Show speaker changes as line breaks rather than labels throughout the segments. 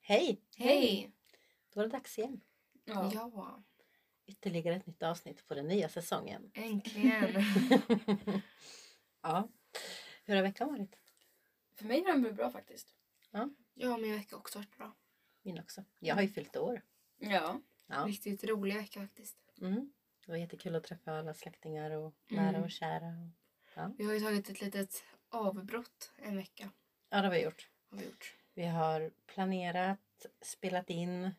Hej!
Hej!
Då var det dags igen.
Ja,
Ytterligare ett nytt avsnitt på den nya säsongen.
äntligen.
ja. Hur har veckan varit?
För mig har den blivit bra faktiskt.
ja, min vecka har också varit bra.
Min också. Jag har ju fyllt år.
Ja.
Ja.
Riktigt rolig vecka faktiskt.
Mm. Det var jättekul att träffa alla släktingar och
Mm.
nära och kära. och-
Vi har ju tagit ett litet avbrott en vecka.
Ja, det har vi gjort.
Har vi gjort.
Vi har planerat, spelat in,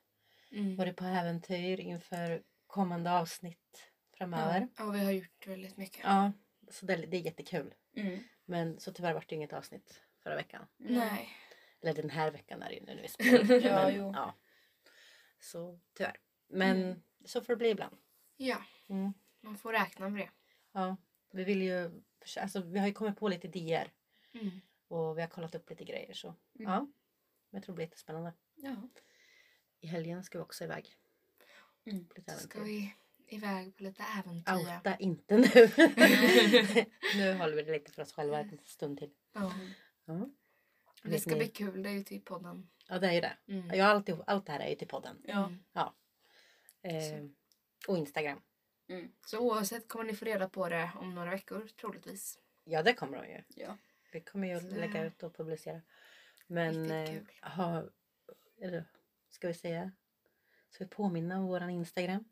Mm.
varit på äventyr inför kommande avsnitt framöver.
Ja, vi har gjort väldigt mycket.
Ja, så det, det är jättekul.
Mm.
Men så tyvärr var det inget avsnitt förra veckan.
Nej.
Eller den här veckan är det ju nu när vi spelar in,
Ja,
men,
jo.
ja. Så tyvärr. Men så får det bli ibland.
Ja,
Mm.
man får räkna med det.
Ja. Vi vill ju, förs- alltså, vi har ju kommit på lite idéer
Mm.
och vi har kollat upp lite grejer så ja. Men jag tror det blir jättespännande.
Ja.
I helgen ska vi också iväg.
Mm.
På lite
Så ska
äventyr.
vi iväg på lite äventyr.
Outa inte nu. nu håller vi det lite för oss själva en stund till.
Ja.
Ja.
Det
Vet
ska
ni-
bli kul, det är ju till podden.
Ja det är ju det.
Mm.
Jag har alltid, allt det här är ju till podden.
Ja.
Mm.
Eh, och Instagram.
Så oavsett kommer ni få reda på det om några veckor troligtvis.
Ja det kommer de ju.
Ja.
Vi kommer ju att
Så det
lägga
här-
ut och publicera. Men
Riktigt
eh,
kul.
ha, eller, ska vi säga? Ska vi påminna om våran Instagram?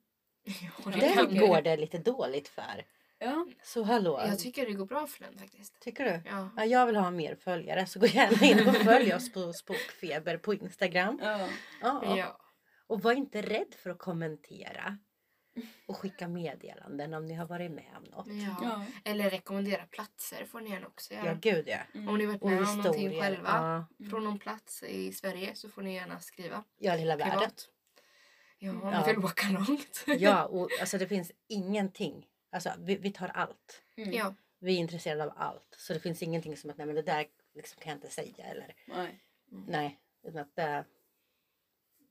Ja,
det kan
Den
vi.
går det lite dåligt för.
Ja.
Så hallå,
Jag tycker det går bra för den faktiskt.
tycker du?
Ja.
Ja, jag vill ha mer följare så gå gärna in och följ oss på Spokfeber på Instagram.
Ja.
Ja.
ja.
Och var inte rädd för att kommentera och skicka meddelanden om ni har varit med om något.
ja.
Ja.
Eller rekommendera platser får ni gärna också göra.
Ja, gud ja.
Mm.
Om ni varit
Och
med om någonting
historier.
själva
Ja,
från någon plats i Sverige så får ni gärna skriva
ja, hela världen.
privat. Ja, om
Ja.
ni vill åka långt.
Ja, och alltså det finns ingenting. Alltså vi, vi tar allt.
Mm.
ja.
Vi är intresserade av allt. Så det finns ingenting som att nej men det där liksom kan jag inte säga eller
Nej.
nej. Utan att det,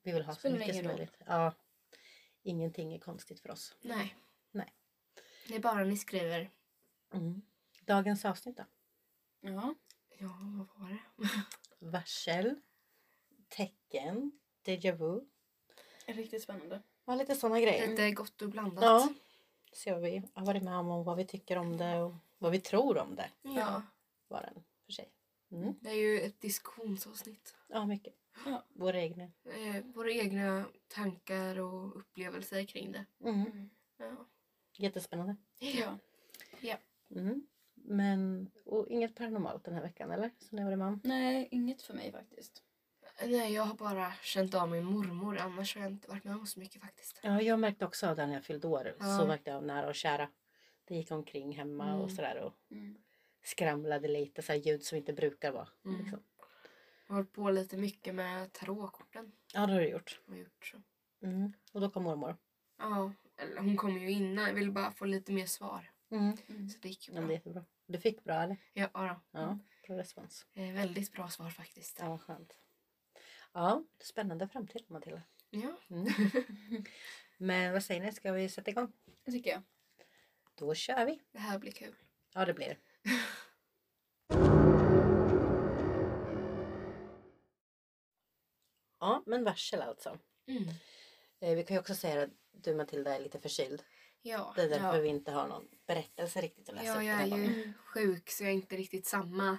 vi vill ha så
Spelar
mycket som
ingen roll.
möjligt. Ja. Ingenting är konstigt för oss.
Nej.
Nej.
Det är bara ni skriver.
Mm. Dagens avsnitt då?
Ja.
Ja, vad var det?
Varsel. Tecken. Deja vu.
Riktigt spännande.
Ja, lite sådana
Mm.
grejer.
Lite gott och blandat.
Mm. Ja. Se vad vi har varit med om och vad vi tycker om det och vad vi tror om det.
ja.
Var den för sig.
Det är ju ett diskussionsavsnitt.
Ja, mycket.
Ja.
Våra egna.
Eh, våra egna tankar och upplevelser kring det.
Mm.
Ja.
Jättespännande.
Ja.
Mm. Men och inget paranormalt den här veckan eller? Så nu var det man.
Nej, inget för mig faktiskt.
Nej, jag har bara känt av min mormor. Annars har jag inte varit med om så mycket faktiskt.
Ja, jag märkte också av den när jag fyllde år.
Ja.
Så märkte jag av nära och kära. Det gick omkring hemma
Mm.
och sådär och
Mm.
skramlade lite. Så här ljud som inte brukar vara.
Mm.
Liksom.
Jag har hållit på lite mycket med tarotkorten.
Ja, det har du gjort.
Och Typ gjort så.
Mm. Och då kom mormor.
Ja, eller hon kom ju innan. Jag ville bara få lite mer svar.
Mm.
Mm.
Så det gick ju
Ja,
bra.
men det är jättebra. Du fick bra eller?
Ja, ja,
Ja, bra respons.
då. Eh, väldigt bra svar faktiskt.
Mm. Ja, vad skönt. Ja, spännande framtid Matilda.
Ja.
Mm. Men vad säger ni, ska vi sätta igång?
Det tycker jag.
Då kör vi.
Det här blir kul.
Ja, det blir det. Ja, men varsel alltså.
Mm.
Eh, Vi kan ju också säga att du Matilda är lite förkyld.
Ja.
Det är därför
Ja.
vi inte har någon berättelse riktigt att läsa
ja,
upp.
jag
den
är
här gången.
ju sjuk så jag är inte riktigt samma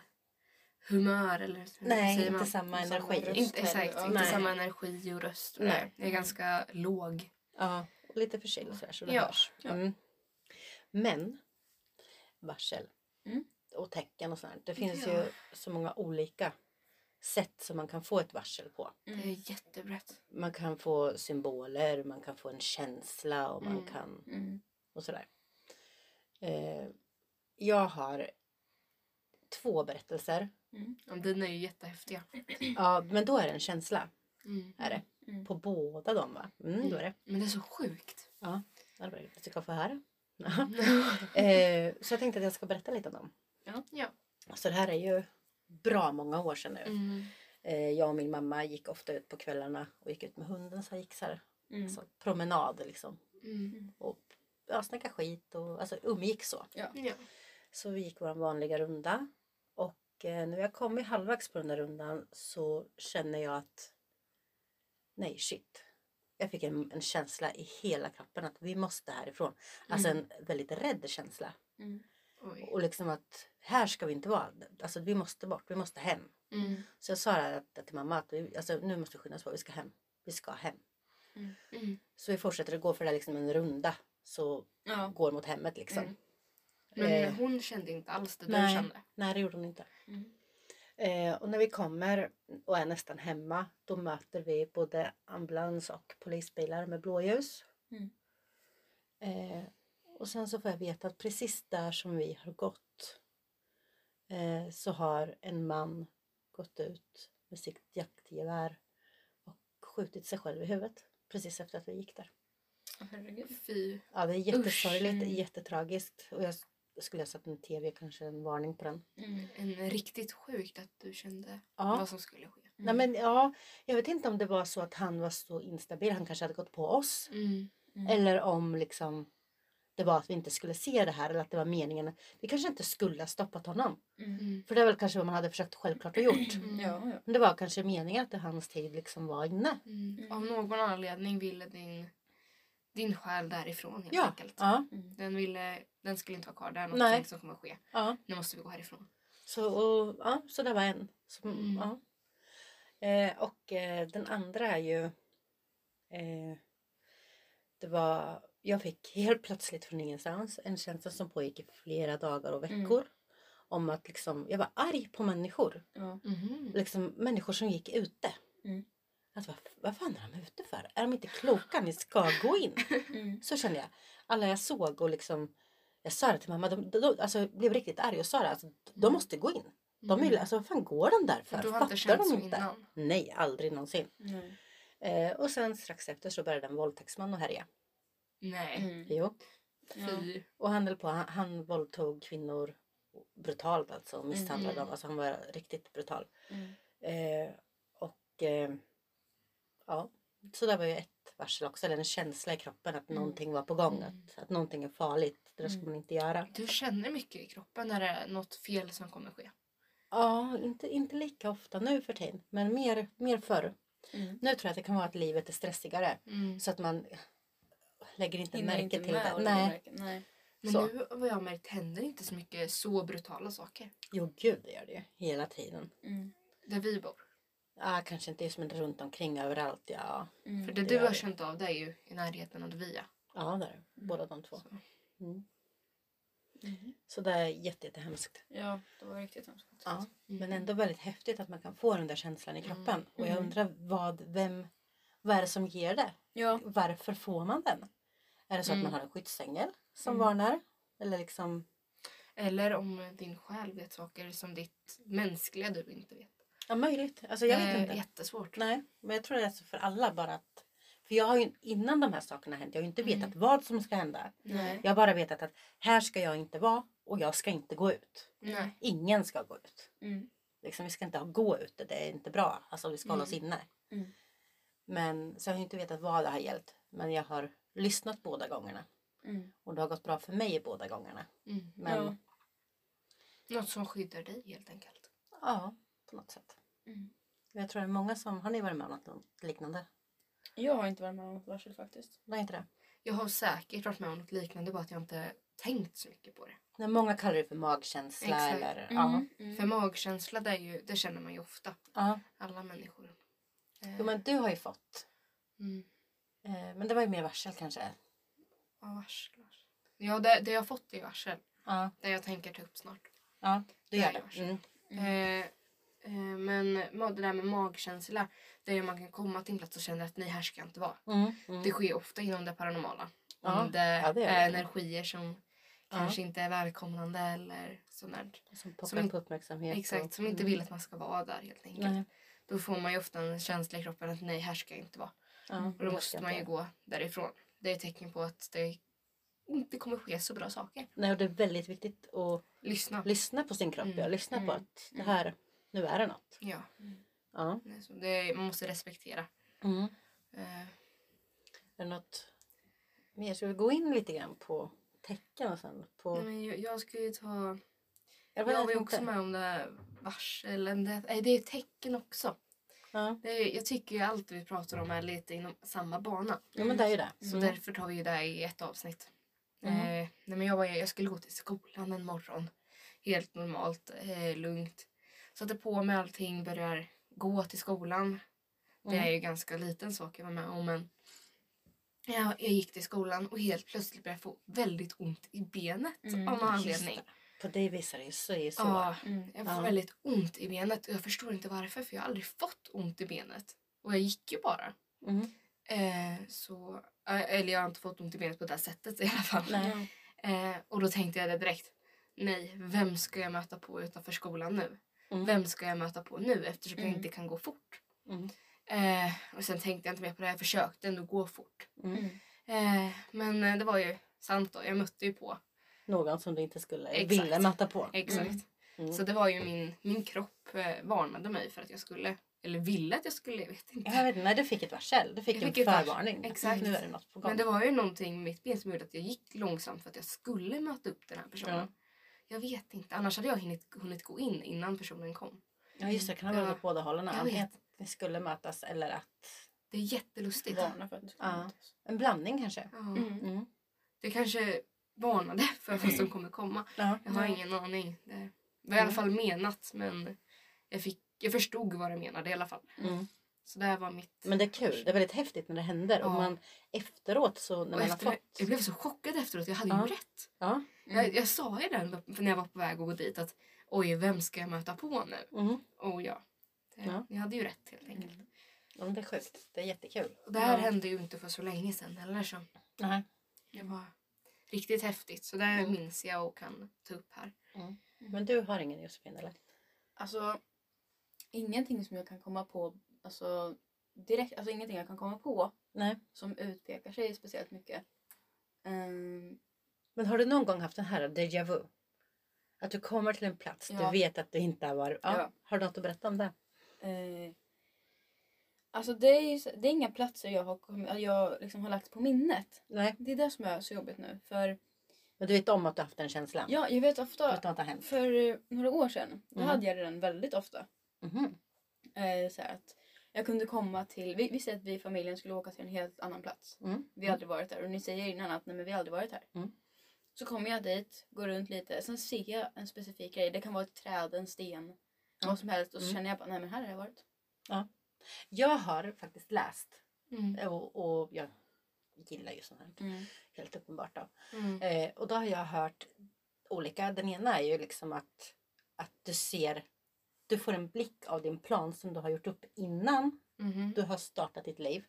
humör eller hur
Nej,
säger
inte
man?
samma
Samma
energi.
röst.
Inte, exakt,
Ja.
inte
Nej.
samma energi och röst. och
Nej.
det. Jag är ganska låg.
Ja, och lite förkyld sådär så det
Ja,
hörs.
ja.
Mm. Men varsel
Mm.
och tecken och sånt. Det finns
Ja.
ju så många olika sätt som man kan få ett varsel på.
Mm.
Det är jättebrett.
Man kan få symboler, man kan få en känsla och man
Mm.
kan
Mm.
och sådär. Eh, jag har två berättelser.
Ja, dina är ju jättehäftiga.
Ja, men då är det en känsla.
Mm.
Är det.
Mm.
På båda dem va? Mm, då är det.
Men det är så sjukt. Mm.
Ja, det var det. Jag tycker jag får höra. Eh, så jag tänkte att jag ska berätta lite om dem.
Ja.
Ja.
Så det här är ju bra många år sedan nu.
Mm.
Eh, jag och min mamma gick ofta ut på kvällarna och gick ut med hunden så jag gick så här,
Mm.
alltså, promenad liksom.
Mm.
Och ja, snacka skit och alltså umgicks så.
Ja.
Så vi gick vår vanliga runda. Och eh, när jag kom i halvvägs på den där rundan så känner jag att nej shit. Jag fick en, en känsla i hela kroppen att vi måste härifrån. Alltså en väldigt rädd känsla.
Mm.
Mm. Oj.
Och liksom att här ska vi inte vara. Alltså vi måste bort, vi måste hem.
Mm.
Så jag sa det här att- till mamma att vi, alltså, nu måste vi skynda oss på, vi ska hem. Vi ska hem.
Mm.
Så vi fortsätter att gå för det är liksom en runda. Så
Ja.
går mot hemmet liksom.
Mm.
Eh,
Men hon kände inte alls det
nej.
du kände.
Nej det gjorde hon inte.
Mm.
Eh, och när vi kommer och är nästan hemma då möter vi både ambulans och polisbilar med blåljus.
Mm.
Eh, och sen så får jag veta att precis där som vi har gått eh, så har en man gått ut med sitt jaktgevär och skjutit sig själv i huvudet precis efter att vi gick där.
Åh, Herregud.
Fy.
Ja, det är jättesorgligt,
mm. jättetragiskt.
jättetragiskt och jag s- skulle ha satt en tv, kanske en varning på den.
Mm.
En riktigt sjukt att du kände
Ja.
vad som skulle ske.
Mm.
Nej men ja, jag vet inte om det var så att han var så instabil, han kanske hade gått på oss.
Mm.
Mm.
Eller om liksom det var att vi inte skulle se det här eller att det var meningen. Vi kanske inte skulle ha stoppat honom.
Mm.
Mm.
För det är väl kanske vad man hade försökt självklart ha gjort.
Mm.
Ja, ja.
Men det var kanske meningen att det hans tid liksom var inne.
Mm. Av någon anledning ville din, din själ därifrån helt
Ja,
enkelt.
Ja,
Mm.
Den, ville, den skulle inte vara kvar. Det är någonting
Nej.
som kommer att ske.
ja.
Nu måste vi gå härifrån.
Så, och, ja, så det var en. Som,
Mm.
ja. eh, och eh, den andra är ju... Eh, det var, jag fick helt plötsligt från ingenstans en känsla som pågick i flera dagar och
Mm.
veckor. Om att liksom, jag var arg på människor.
Ja.
Mm-hmm.
Liksom, människor som gick ute.
Mm.
Att, vad, vad fan är de ute för? Är de inte kloka? Ni ska gå in.
Mm.
Så kände jag. Alla jag såg och liksom... Jag sa det till mamma. De, de, de, alltså, jag blev riktigt arg och sa det. Alltså, de
Mm.
måste gå in. De vill, alltså vad fan går de där för?
För Mm. du Mm. har inte
Fattar
känt
de
så
inte?
innan.
Nej, aldrig någonsin.
Nej.
Eh, och sen strax efter så började en våldtäktsman att härja.
Nej.
Mm.
Jo. Mm.
Ja.
Fy.
Och han höll på, han, han våldtog kvinnor brutalt alltså och misshandlade
Mhm.
dem. Alltså han var riktigt brutal.
Mm.
Eh, och eh, ja, så där var ju ett varsel också. Eller en känsla i kroppen att
Mm.
någonting var på gång.
Mm.
Att, att någonting är farligt. Det där ska
Mm.
man inte göra.
Du känner mycket i kroppen när det är något fel som kommer att ske.
Ja, inte, inte lika ofta nu för tiden. Men mer, mer förr.
Mm.
Nu tror jag att det kan vara att livet är stressigare.
Mm.
Så att man lägger inte
Hinner
märke
inte
till
med
det.
och lägga
Nej.
märke- Nej.
Men
Så.
nu vad jag har märkt händer inte så mycket så brutala saker.
Jo, gud det gör det ju. Hela tiden.
Mm.
Där vi bor.
Ja, kanske inte just men runt omkring överallt. Ja,
Mm.
För det
det
du
gör
har
det.
känt av det är ju i närheten av via.
ja där. är Båda de två.
Så.
Mm.
Mhm.
Så det är jätte, jättehemskt.
Ja, det var riktigt hemskt.
Ja.
Mm.
Men ändå väldigt häftigt att man kan få den där känslan i kroppen. Och jag
Mm.
undrar vad, vem, vad är det som ger det?
Ja.
Varför får man den? Är det så
Mm.
att man har en skyddsängel som
Mm.
varnar? Eller liksom,
Eller om din själ vet saker som ditt mänskliga du inte vet.
ja möjligt. Alltså jag vet
Eh,
inte.
Jättesvårt.
Nej, men jag tror det är så för alla bara att... För jag har ju innan de här sakerna har hänt, jag har ju inte
Mm.
vetat vad som ska hända.
Nej.
Jag har bara vetat att här ska jag inte vara och jag ska inte gå ut.
Nej.
Ingen ska gå ut.
Mm.
Liksom, vi ska inte ha gå ute, det är inte bra. Alltså vi ska hålla oss inne.
Mm.
Men så jag har ju inte vetat vad det har gällt. Men jag har lyssnat båda gångerna.
Mm.
Och det har gått bra för mig båda gångerna.
Mm.
Men
Ja.
ja,
Något som skyddar dig helt enkelt.
på något sätt.
Mm.
Jag tror det är många som, har ni varit med om något liknande?
Jag har inte varit med om något varsel faktiskt.
Nej inte det?
Jag har säkert varit med om något liknande bara att jag inte tänkt så mycket på det.
Nej, många kallar det för magkänsla
Exakt.
eller... Ja.
Mm.
För magkänsla det, är ju, det känner man ju ofta.
ja.
Alla människor.
Jo men du har ju fått.
Mm.
Eh, men det var ju mer varsel kanske.
Ja, varsel. varsel. Ja, det, det jag har fått är varsel.
Ja,
Det jag tänker ta upp snart.
ja du
Det
gör
är
det.
varsel.
Mm.
Eh, eh, men ma- det där med magkänsla, det är ju man kan komma till en plats och känna att nej här ska jag inte vara.
Mm. Mm.
Det sker ofta inom det paranormala.
Ja,
Om det,
ja, det gör
är
det.
energier som
Ja.
kanske inte är välkomnande eller sånt där.
Som poppar
som-
på uppmärksamhet.
Exakt,
och-
som inte
Mm.
vill att man ska vara där helt enkelt.
Nej.
Då får man ju ofta en känsla i kroppen att nej här ska jag inte vara.
Ja,
Och då
jag ska
måste man ju
inte.
gå därifrån. Det är ett tecken på att det inte kommer ske så bra saker.
Nej, och det är väldigt viktigt att
Lyssna.
lyssna på sin kropp.
Mm.
Ja. Lyssna på
Mm.
att det här, nu är det något.
Ja,
Ja.
nej, så det, man måste respektera.
Mm.
Eh,
Är det något mer? Ska vi gå in lite grann på tecken och sen? På...
nej, men jag, jag ska ju ta
jag
Jag var ju
tänkte-
också med om det här varsel. Det, nej, det är tecken också.
Ja.
Det är, jag tycker ju allt vi pratar om är lite inom samma bana.
ja, men det är ju det. Mm.
Så därför tar vi ju Mm. det i ett avsnitt.
Mhm.
Eh, nej, men jag, var, jag skulle gå till skolan en morgon. Helt normalt, eh, lugnt. Satte på mig allting, börjar gå till skolan. Det är
Mm.
ju ganska liten sak jag var med om. Men jag, jag gick till skolan och helt plötsligt började jag få väldigt ont i benet
Mm,
av någon
just
anledning.
På dig visar det ju så. Är ju så.
Ja,
Mm.
jag får
Ja.
väldigt ont i benet och jag förstår inte varför för jag har aldrig fått ont i benet. Och jag gick ju bara.
Mm.
Eh, så, eh, eller jag har inte fått ont i benet på det här sättet i alla fall.
Nej.
Ja.
Eh, och då tänkte jag det direkt. Nej, vem ska jag möta på utanför skolan nu?
Mm.
Vem ska jag möta på nu eftersom
Mm.
jag inte kan gå fort?
Mm.
Eh, och sen tänkte jag inte mer på det. Jag försökte ändå gå fort.
Mm.
Mm.
Eh, men eh, det var ju sant då. Jag mötte ju på.
Någon som du inte skulle
Exakt.
vilja möta på.
Exakt.
Mm.
Så det var ju min, min kropp eh, varnade mig för att jag skulle. Eller ville att jag skulle. Jag vet inte.
Jag vet inte, nej, du fick ett varsel. Du fick,
Jag fick
en
ett varsel.
förvarning.
Exakt.
Nu är det något på gång.
Men det var ju någonting i mitt ben som gjorde att jag gick långsamt för att jag skulle möta upp den här personen.
Ja.
Jag vet inte. Annars hade jag hunnit, hunnit gå in innan personen kom.
Ja just det, kan ha varit
Ja.
åt båda hållen.
Jag
Antingen
vet.
att ni skulle mötas eller att...
Det är jättelustigt.
Varna för att du ska
Ja.
mötas.
En blandning kanske.
Ja.
Mm.
Mm.
Det kanske varnade för vad som kommer komma.
Ja.
Jag har
Ja.
ingen aning. Det var i alla fall menat men jag, fick, jag förstod vad det menade i alla fall.
Mm.
Så det här var mitt...
Men det är kul. Det är väldigt häftigt när det händer. Och
Ja.
man efteråt så när
och
man
efter,
har
Jag
fått...
blev så chockad efteråt. Jag hade
Ja.
ju rätt.
Ja. Mm.
Jag, jag sa ju det ändå när jag var på väg att gå dit att oj, vem ska jag möta på nu?
Mm.
Och ja, det,
Ja.
jag hade ju rätt helt enkelt.
ja men det är sjukt. Det är jättekul.
Och det här
Ja.
hände ju inte för så länge sedan heller så
Nej.
det var riktigt häftigt. Så det här
Mm.
minns jag och kan ta upp här.
Men du har ingen Josefin eller?
Alltså, ingenting som jag kan komma på, alltså direkt, alltså ingenting jag kan komma på
Nej.
som utpekar sig speciellt mycket. Ehm,
Men har du någon gång haft den här déjà vu? Att du kommer till en plats,
Ja.
du vet att du inte har varit... Ja.
Ja.
Har du något att berätta om det?
eh, alltså det är, ju så- det är inga platser jag har, kommit- jag liksom har lagt på minnet.
Nej.
Det är det som är så jobbigt nu. För
Men du vet om att du har haft den känslan?
ja, jag vet
Utan
ofta,
att det har hänt?
för eh, några år sedan, då
Mhm.
hade jag den väldigt ofta.
Mhm.
Eh, så här att jag kunde komma till, vi, vi säger att vi i familjen skulle åka till en helt annan plats.
Mm.
Vi har aldrig varit där. Och ni säger innan att nej men vi har aldrig varit här.
Mm.
Så kommer jag dit, går runt lite. Sen ser jag en specifik grej. Det kan vara ett träd, en sten, vad som helst. Och så
Mm.
känner jag bara, nej men här har jag varit.
Jag har faktiskt läst
Mm.
och, och jag gillar ju sånt här. Helt uppenbart då.
Mm.
Eh, och då har jag hört olika. Den ena är ju liksom att, att du ser, du får en blick av din plan som du har gjort upp innan
Mhm.
du har startat ditt liv.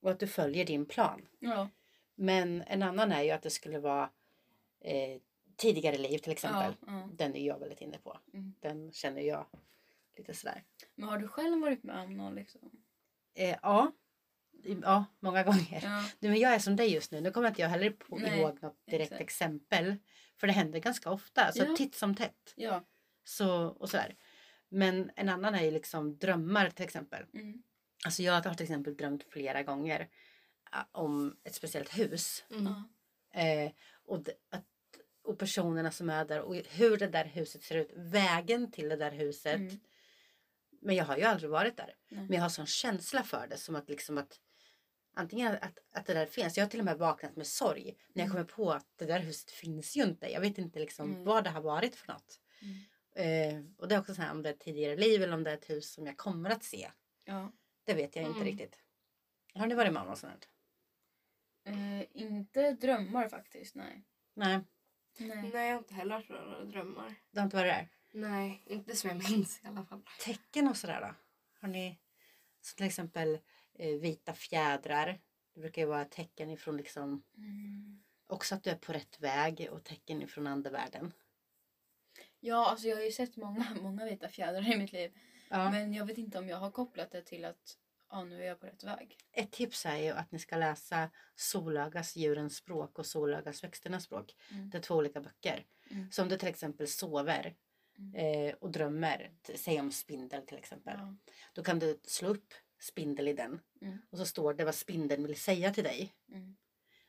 Och att du följer din plan.
Ja.
Men en annan är ju att det skulle vara eh, tidigare liv till
ja,
exempel.
ja.
Den är jag väldigt inne på.
Mm.
Den känner jag lite sådär.
Men har du själv varit med om någon liksom?
Eh, ja. ja, många gånger.
Ja.
Du, men jag är som dig just nu. Nu kommer inte jag heller på,
Nej,
ihåg något direkt
exakt.
exempel. För det händer ganska ofta. Så
Ja.
titt som tätt.
Ja.
Så, och sådär. Men en annan är ju liksom drömmar till exempel.
Mm.
Alltså jag har till exempel drömt flera gånger ah, om ett speciellt hus.
Mm.
Ja.
Eh, och, d- att, och personerna som är där och hur det där huset ser ut. Vägen till det där huset.
Mm.
Men jag har ju aldrig varit där.
Nej.
Men jag har sån känsla för det som att liksom att antingen att, att det där finns. Jag har till och med vaknat med sorg när jag kommer på att det där huset finns ju inte. Jag vet inte liksom
Mm.
vad det har varit för något.
Mm.
Eh, och det är också så här om det är ett tidigare liv eller om det är ett hus som jag kommer att se.
Ja.
Det vet jag inte
Mm.
riktigt. Har ni varit med om något sånt? här?
Eh, inte drömmar faktiskt, nej.
Nej,
Nej.
Nej, jag har inte heller haft några drömmar.
det har inte varit där.
Nej, inte som jag minns i alla fall.
Tecken och sådär då? Har ni så till exempel eh, vita fjädrar? Det brukar ju vara tecken ifrån liksom
Mm.
också att du är på rätt väg och tecken ifrån andevärlden.
Ja, alltså jag har ju sett många, många vita fjädrar i mitt liv.
Ja.
Men jag vet inte om jag har kopplat det till att ja, nu är jag på rätt väg.
Ett tips är ju att ni ska läsa Solögas djurens språk och Solögas växternas språk.
Mm.
Det är två olika böcker.
Mm.
Så om du till exempel sover eh, och drömmer, t- säg om spindel till exempel.
Ja.
Då kan du slå upp spindel i den
Mm.
och så står det vad spindeln vill säga till dig.
Mm.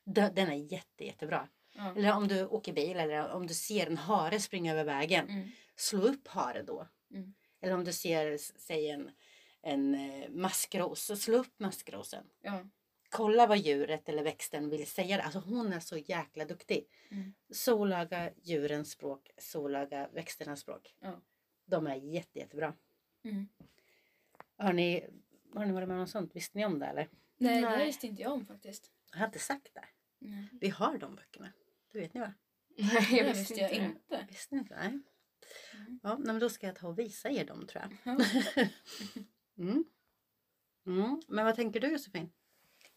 D- Den är jätte, jättebra.
Ja.
Eller om du åker bil eller om du ser en hare springa över vägen,
Mm.
slå upp hare då.
Mm.
Eller om du ser, s- säg en en eh, maskros och slå upp maskrosen.
Ja.
Kolla vad djuret eller växten vill säga. Alltså hon är så jäkla duktig.
Mm.
Solaga djurens språk, solaga växternas språk.
Ja.
De är jätte, jättebra.
Mm.
Har ni, har ni varit med om något sånt? Visste ni om det eller?
Nej, det här
Nej.
visste inte jag om faktiskt.
Jag har inte sagt det.
Nej,
Vi har de böckerna. Det vet ni va?
Nej,
det visste jag
det.
inte.
Visste ni inte? Nej.
Mm.
Ja, nej, men då ska jag ta och visa er dem tror jag.
Ja.
Mm. Mm. Men vad tänker du Josefin?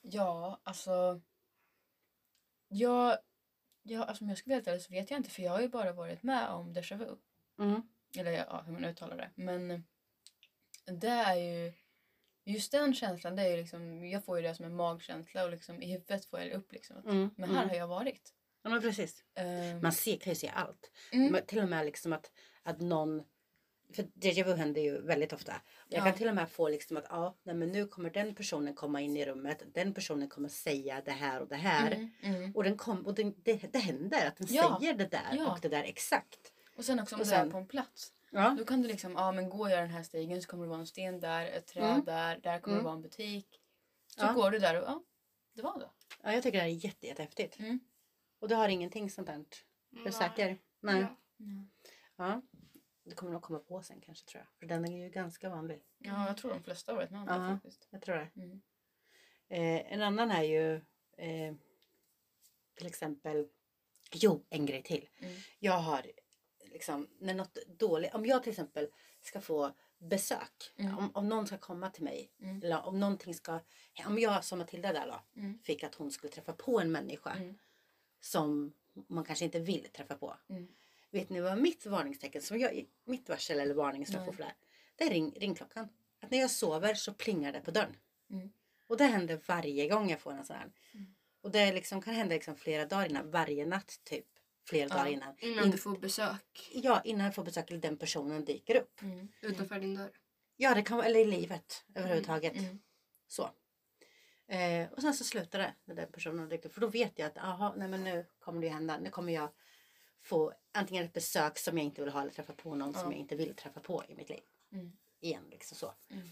Ja, alltså. Jag, jag, alltså om jag ska vara helt ärlig så vet jag inte för jag har ju bara varit med om déjà vu.
Mm.
Eller ja, hur man uttalar det. Men det är ju... Just den känslan, det är ju liksom, jag får ju det som en magkänsla och liksom, i huvudet får jag det upp. Liksom.
Mm.
Men här
Mm.
har jag varit.
Ja, men precis.
Ehm,
Man ser, kan ju se allt.
Mm.
Men Till och med liksom att, att någon... För déjà vu händer ju väldigt ofta. Jag
Ja.
kan till och med få liksom att ja, nej, men nu kommer den personen komma in i rummet. Den personen kommer säga det här och det här.
mm, mm.
Och, den kom, och den, det, det händer att den
Ja.
säger det där
Ja.
och det där exakt.
Och sen också om
Och
du är
sen-
på en plats.
Ja.
Då kan du liksom, ja ah, men går jag den här stigen så kommer det vara en sten där, ett träd
Mm.
där, där kommer
Mm.
det vara en butik. Så
Ja.
går du där och ja, det var det.
ja, jag tycker det här är jätte, jättehäftigt.
Mm.
Och du har ingenting sånt där? Är du säker? Nej.
Ja.
Ja. Du kommer nog komma på sen kanske tror jag. För den är ju ganska vanlig.
Ja, jag tror de flesta har varit med om det
Ja.
faktiskt.
Jag tror det.
Mm.
Eh, en annan är ju eh, till exempel. Jo, en grej till.
Mm.
Jag har liksom när något dåligt. Om jag till exempel ska få besök.
Mm.
Om, om någon ska komma till mig.
Mm.
Eller om någonting ska. Om jag som Matilda där då.
Mm.
Fick att hon skulle träffa på en människa.
Mm.
Som man kanske inte vill träffa på.
Mm.
Vet ni vad mitt varningstecken som jag, mitt varsel eller varning som jag får
Nej.
för det här? Det är ring, ringklockan. Att när jag sover så plingar det på dörren.
Mm.
Och det händer varje gång jag får en sån här.
Mm.
Och det är liksom, kan hända liksom flera dagar innan, varje natt typ. Flera
Ja.
dagar innan.
Innan du får besök
Ja, innan jag får besök eller den personen dyker upp.
Mm.
utanför din dörr.
Ja, det kan vara, eller i livet överhuvudtaget.
Mm.
Så. Eh, och sen så slutar det när den personen dyker upp. För då vet jag att aha, nej men nu kommer det ju hända. Nu kommer jag få antingen ett besök som jag inte vill ha eller träffa på någon som
Ja.
jag inte vill träffa på i mitt liv.
Mm.
Igen liksom så.
Mm.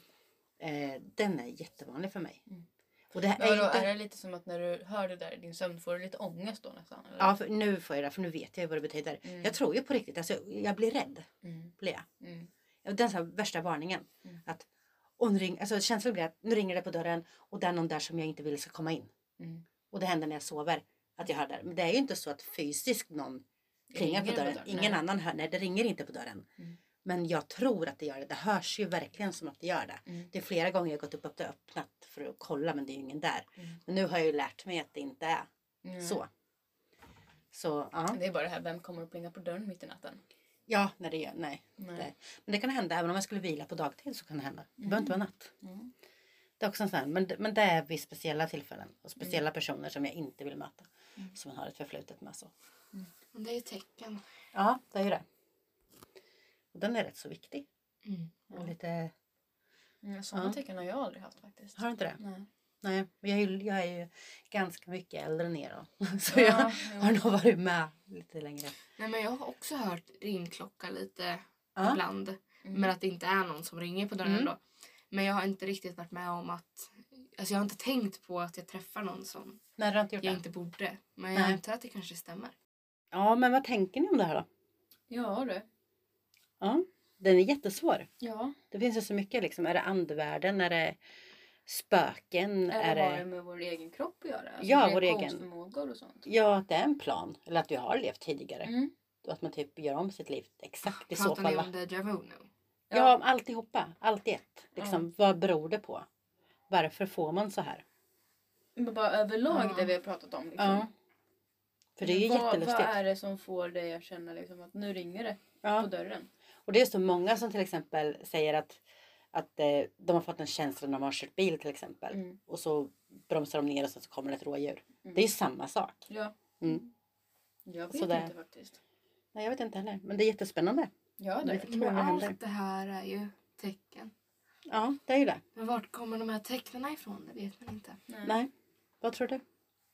Eh, den är jättevanlig för mig.
Mm.
Och det
Men
är,
vadå,
inte...
är det lite som att när du hör det där i din sömn får du lite ångest då nästan? Eller?
Ja, för nu får jag det för nu vet jag ju vad det betyder.
Mm.
Jag tror ju på riktigt, alltså, jag blir rädd.
Mm.
Blir jag.
Mm.
Ja, Den så här värsta varningen.
Mm.
Att, och nu ring, alltså, känslan blir att nu ringer det på dörren och det är någon där som jag inte vill ska komma in.
Mm.
Och det händer när jag sover att jag hör det. Men det är ju inte så att fysiskt någon klingar på
Ringer det på
dörren.
dörren?
Ingen
Nej.
annan hör. Nej, det ringer inte på dörren.
Mm.
Men jag tror att det gör det. Det hörs ju verkligen som att det gör det.
Mm.
Det är flera gånger jag gått upp och öppnat för att kolla men det är ju ingen där.
Mm.
Men nu har jag ju lärt mig att det inte är
Mm.
så. Så ja.
Det är bara det här, vem kommer att plinga på dörren mitt i natten?
Ja, när det gör, nej.
Nej.
Nej. Men det kan hända, även om jag skulle vila på dagtid så kan det hända. Det behöver inte vara natt.
Mm.
Det är också en sån här, men, men det är vid speciella tillfällen och
Mm.
speciella personer som jag inte vill möta. Som man har ett förflutet med så.
Men det är ett tecken.
Ja, det är ju det. Och den är rätt så viktig. Och
Ja.
lite,
Mm. Sådana
Ja.
tecken har jag aldrig haft faktiskt.
har du inte det?
Nej.
Nej, men jag är ju, jag är ju ganska mycket äldre än er då. Så
Ja,
jag
jo.
har nog varit med lite längre.
Nej, men jag har också hört ringklocka lite
Ja.
ibland.
Mm.
Men att det inte är någon som ringer på dörren
Mm.
då. Men jag har inte riktigt varit med om att... Alltså jag har inte tänkt på att jag träffar någon som
Nej, du har inte gjort
jag
det?
inte borde. Men
Nej.
jag antar att det kanske stämmer.
Ja, men vad tänker ni om det här då?
Ja du.
Ja, den är jättesvår.
Ja.
Det finns ju så mycket liksom. Är det andevärlden? Är det spöken?
Är det,
är
bara med vår egen kropp att göra? Alltså
Ja, vår egen.
reaktionsförmågor och sånt.
Ja, att det är en plan. Eller att vi har levt tidigare.
Mm.
Och att man typ gör om sitt liv exakt i så
Pratar ni
fall. va?
om déjà vu nu?
Ja, om alltihopa. Allt i ett. Liksom, Vad beror det på? Varför får man så här?
Men bara överlag
Ja.
det vi har pratat om. Liksom.
Ja. För det är ju
vad,
jättelustigt.
Vad är det som får dig att känna liksom, att nu ringer det på
Ja.
dörren?
Och det är så många som till exempel säger att, att eh, de har fått en känsla när de har kört bil till exempel.
Mm.
Och så bromsar de ner och sen så kommer det ett rådjur.
Mm.
Det är ju samma sak.
Ja.
Mm.
Jag vet
Sådär.
inte faktiskt.
Nej, jag vet inte heller. Men det är jättespännande.
Ja det är det.
tror jag
Men
det händer.
allt det här är ju tecken.
Ja, det är ju det.
Men vart kommer de här tecknen ifrån? Det vet man inte.
Mm. Nej. Vad tror du?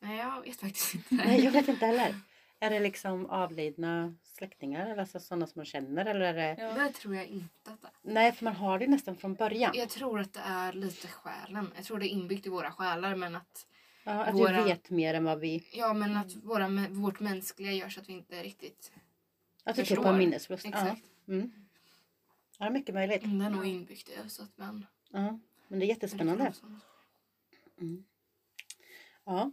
Nej, jag vet faktiskt inte.
Nej, jag vet inte heller. Är det liksom avlidna släktingar eller alltså sådana som man känner? Eller är det...
Ja.
Det tror jag inte att det är.
Nej, för man har det ju nästan från början.
Jag tror att det är lite själen. Jag tror det är inbyggt i våra själar men att,
Ja, att vi
våra-
vet mer än vad vi...
ja, men att våra, mä- vårt mänskliga gör så att vi inte riktigt...
Att vi typ
Förstår.
har minnesförlust. Ja.
Exakt.
Mm. ja, mycket möjligt.
Det är nog inbyggt i oss. Så att man,
Ja. Men det är jättespännande. Ja.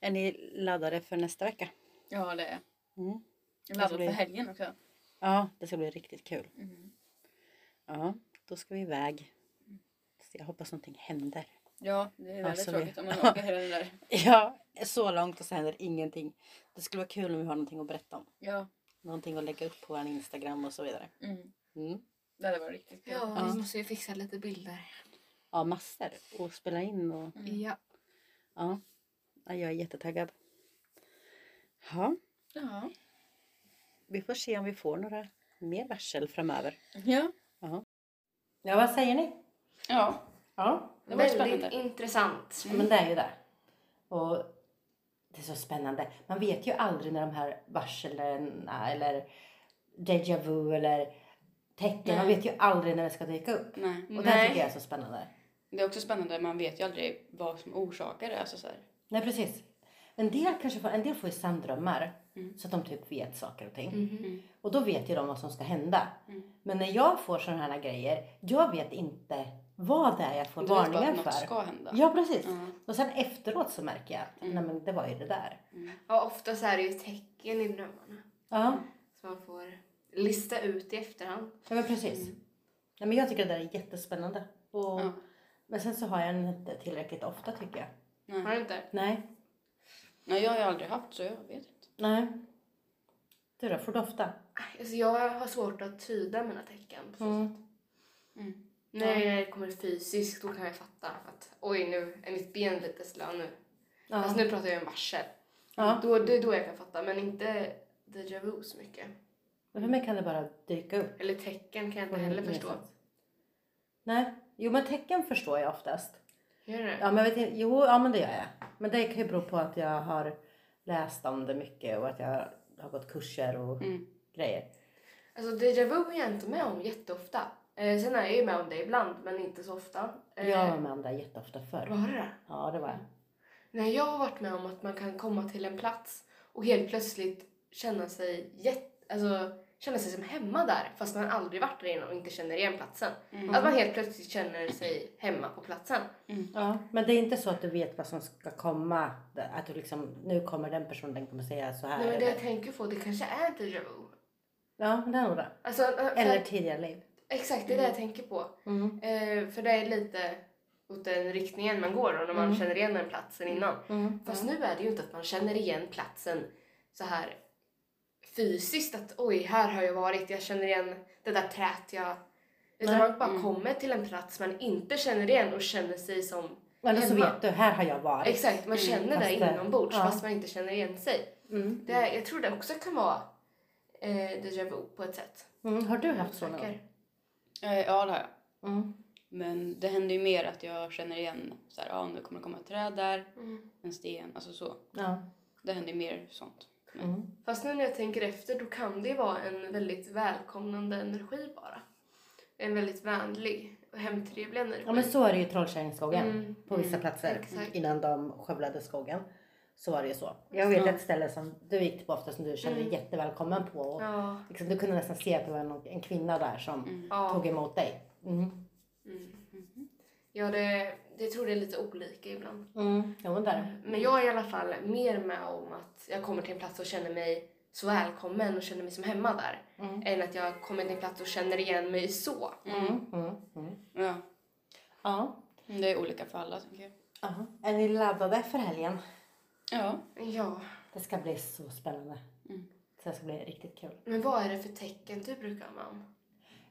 Är ni laddade för nästa vecka?
ja, det är
Mm.
jag. Laddad
blir-
för helgen också.
Ja, det ska bli riktigt kul.
Mm.
Ja, då ska vi iväg. Så jag hoppas någonting händer.
Ja, det är väldigt
Alltså, vi-
tråkigt om man åker hela den där.
Ja, så långt och så händer ingenting. Det skulle vara kul om vi har någonting att berätta om.
Ja,
Någonting att lägga upp på vår Instagram och så vidare.
mm.
Mm.
det hade varit riktigt kul.
Ja,
Ja.
vi måste ju fixa lite bilder.
Ja, massor. Och spela in och
Mm.
Ja.
ja. ja jag är jättetaggad. Ja,
Ja.
vi får se om vi får några mer varsel framöver.
ja.
Ja, vad säger ni?
ja.
Ja,
Det var
Väldigt
spännande.
intressant.
men det är ju det. Och det är så spännande. Man vet ju aldrig när de här varslen eller déjà vu eller tecken. Man
Nej.
vet ju aldrig när det ska dyka upp.
Nej.
Och det
Nej.
tycker jag är så spännande.
Det är också spännande, man vet ju aldrig vad som orsakar det. Alltså så här.
Nej, precis. En del, kanske får, en del får ju sanddrömmar
Mm.
så att de typ vet saker och ting.
Mhm.
Och då vet ju de vad som ska hända.
Mm.
Men när jag får sådana här grejer, jag vet inte vad det är jag får varningar
att något
för.
ska hända.
Ja, precis.
Ja.
Och sen efteråt så märker jag att
Mm.
nej, men det var ju det där.
Ja, oftast är det ju tecken i drömmarna.
Ja,
Som man får lista ut i efterhand.
ja men precis. Nej, men jag tycker det där är jättespännande. Och,
Mm. Ja.
Men sen så har jag den inte tillräckligt ofta tycker jag.
Har
Nej.
du inte?
Nej,
Nej, jag har ju aldrig haft så jag vet inte.
nej. Du då, får du ofta?
Alltså jag har svårt att tyda mina tecken. på så
Mm.
sätt. När det kommer fysiskt då kan jag fatta att oj nu är mitt ben lite slö nu.
Ja.
Fast nu pratar jag om varsel.
Ja.
Då, det är då jag kan fatta men inte déjà vu så mycket.
Men för mig kan det bara dyka upp.
Eller tecken kan Mm, jag
på
inte heller
något
förstå.
sätt. Nej, jo men tecken förstår jag oftast.
Gör du det?
Ja, men jag vet inte, jo, ja men det gör jag. Men det kan ju bero på att jag har läst om det mycket och att jag har gått kurser och
Mm.
grejer.
Alltså déjà vu är jag inte med om jätteofta. Eh, sen är jag ju med om det ibland men inte så ofta. Eh,
Jag var med om det här jätteofta förr.
Var det?
Ja, det var jag.
När jag har varit med om att man kan komma till en plats och helt plötsligt känna sig, jätt, alltså, känna sig som hemma där fast man aldrig varit där innan och inte känner igen platsen.
Mm.
Att man helt plötsligt känner sig hemma på platsen.
Ja, men det är inte så att du vet vad som ska komma. Att du liksom, nu kommer den personen, den kommer säga så här.
Nej, men det jag
eller,
tänker på det kanske är déjà vu.
ja, men det är nog det.
Alltså, eh, för
Eller
att,
tidigare liv.
exakt, det är det jag tänker på.
Mm.
Eh, för det är lite åt den riktningen man går då, när man
Mm.
känner igen den platsen innan.
Mm.
Fast nu är det ju inte att man känner igen platsen så här fysiskt att oj, här har jag varit, jag känner igen det där trät jag... Utan
Nej.
man bara
Mm.
kommer till en plats man inte känner igen och känner sig som...
Eller så
Hemma.
vet du, här har jag varit.
Exakt, man
Mm,
känner det
fast det-
inombords
ja.
fast man inte känner igen sig.
Mm.
Det, jag tror det också kan vara eh, déjà vu på ett sätt.
Mm. Har du haft så någon gång?
Säker.
Eh, Ja, det har jag.
Mm.
Men det händer ju mer att jag känner igen så här, ja nu kommer det komma ett träd där,
Mm.
en sten, alltså så.
Ja.
Det händer ju mer sånt.
Mm.
Fast nu när jag tänker efter då kan det ju vara en väldigt välkomnande energi bara. En väldigt vänlig och hemtrevlig energi.
Ja men så är det ju i Trollkärringskogen.
Mm,
På vissa
mm,
platser
exakt.
innan de skövlade skogen. Så var det ju så. Jag vet
Ja.
ett ställe som du gick på ofta som du kände dig
Mm.
jättevälkommen på. Och
Ja.
liksom, du kunde nästan se att det var någon, en kvinna där som
Mm.
ja.
tog emot dig. Mm.
Mm. Ja, det, det tror det är lite olika ibland.
Mm. Ja men där.
Men jag är i alla fall mer med om att jag kommer till en plats och känner mig så välkommen och känner mig som hemma där.
Mm.
Än att jag kommer till en plats och känner igen mig så.
Mm.
Mm. Mm. Mm.
Ja,
Ja.
men det är olika för alla tänker jag.
Ja. Är ni laddade för helgen?
Ja.
Ja,
Det ska bli så spännande.
Mm.
Så det ska bli riktigt kul.
men vad är det för tecken du brukar vara om?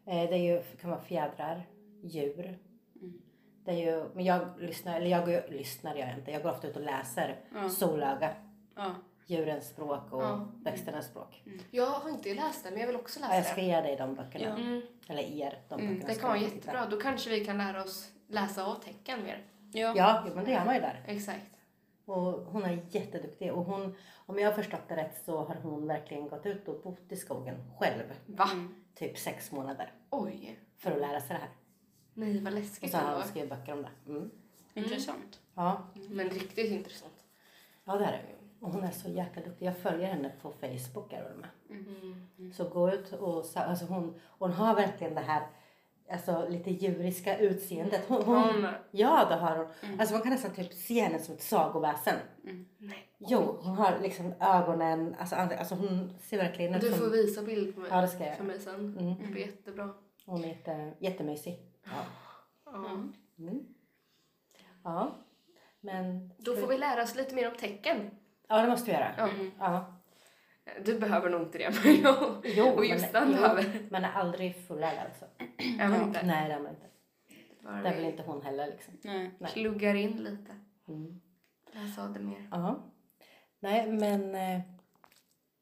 Eh, Det är ju, kan vara fjädrar, djur.
Mm.
Det är ju, men jag lyssnar, eller jag går, ju- lyssnar gör jag inte. Jag går ofta ut och läser
Ja.
solöga.
ja.
djurens språk och
Ja.
växternas språk.
Jag har inte läst det, men jag vill också
Ja, jag
läsa
ska
det.
ge dig de böckerna.
Ja.
Mm,
Eller er de
Mm,
böckerna.
det
ska
kan vara
jag titta.
jättebra. Då kanske vi kan lära oss läsa av tecken mer.
ja.
Ja, jo, men det gör man ju där.
Exakt.
Och hon är jätteduktig och hon, om jag har förstått det rätt så har hon verkligen gått ut och bott i skogen själv,
Va?
typ sex månader,
Oj.
för att lära sig det här.
Nej, vad
Och
läskigt
så har hon
ändå.
skrivit böcker om det. Mm.
Intressant.
Ja,
Men riktigt intressant.
ja det är det. Och hon är så jäkla duktig. Jag följer henne på Facebook. Är hon med.
Mm.
Så gå ut och sa- alltså hon, hon har verkligen det här alltså, lite djuriska utseendet. Hon, hon,
Hon,
Ja, det har hon.
Mm.
Alltså man kan nästan typ se henne som ett sagoväsen.
nej.
Jo, hon har liksom ögonen, alltså, andra- alltså hon ser verkligen ut
Du
som...
får visa bild på mig,
Ja, det ska jag
för
göra.
mig sen.
Mm.
Det blir jättebra.
Hon är jätte, jättemysig. Ja.
Ja.
Mm.
Mm. ja. Men...
Då får vi lära oss lite mer om tecken.
Ja, det måste vi göra.
Ja.
Ja.
Du behöver nog inte det, men jag...
Jo,
Och just
men,
den
jo,
behöver.
Man är aldrig fullärd alltså.
Jag vet inte.
Nej, det är man inte. Det är väl inte hon heller liksom.
Nej.
nej.
Pluggar in lite.
Mm.
Jag sa det mer.
Ja. Nej, men eh,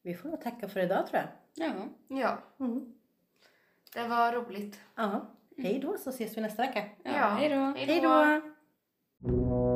vi får nog tacka för idag tror jag.
Ja.
Ja,
Mm.
det var roligt.
Ja. Hej då så ses vi nästa vecka.
ja. Hej då.
Hej då!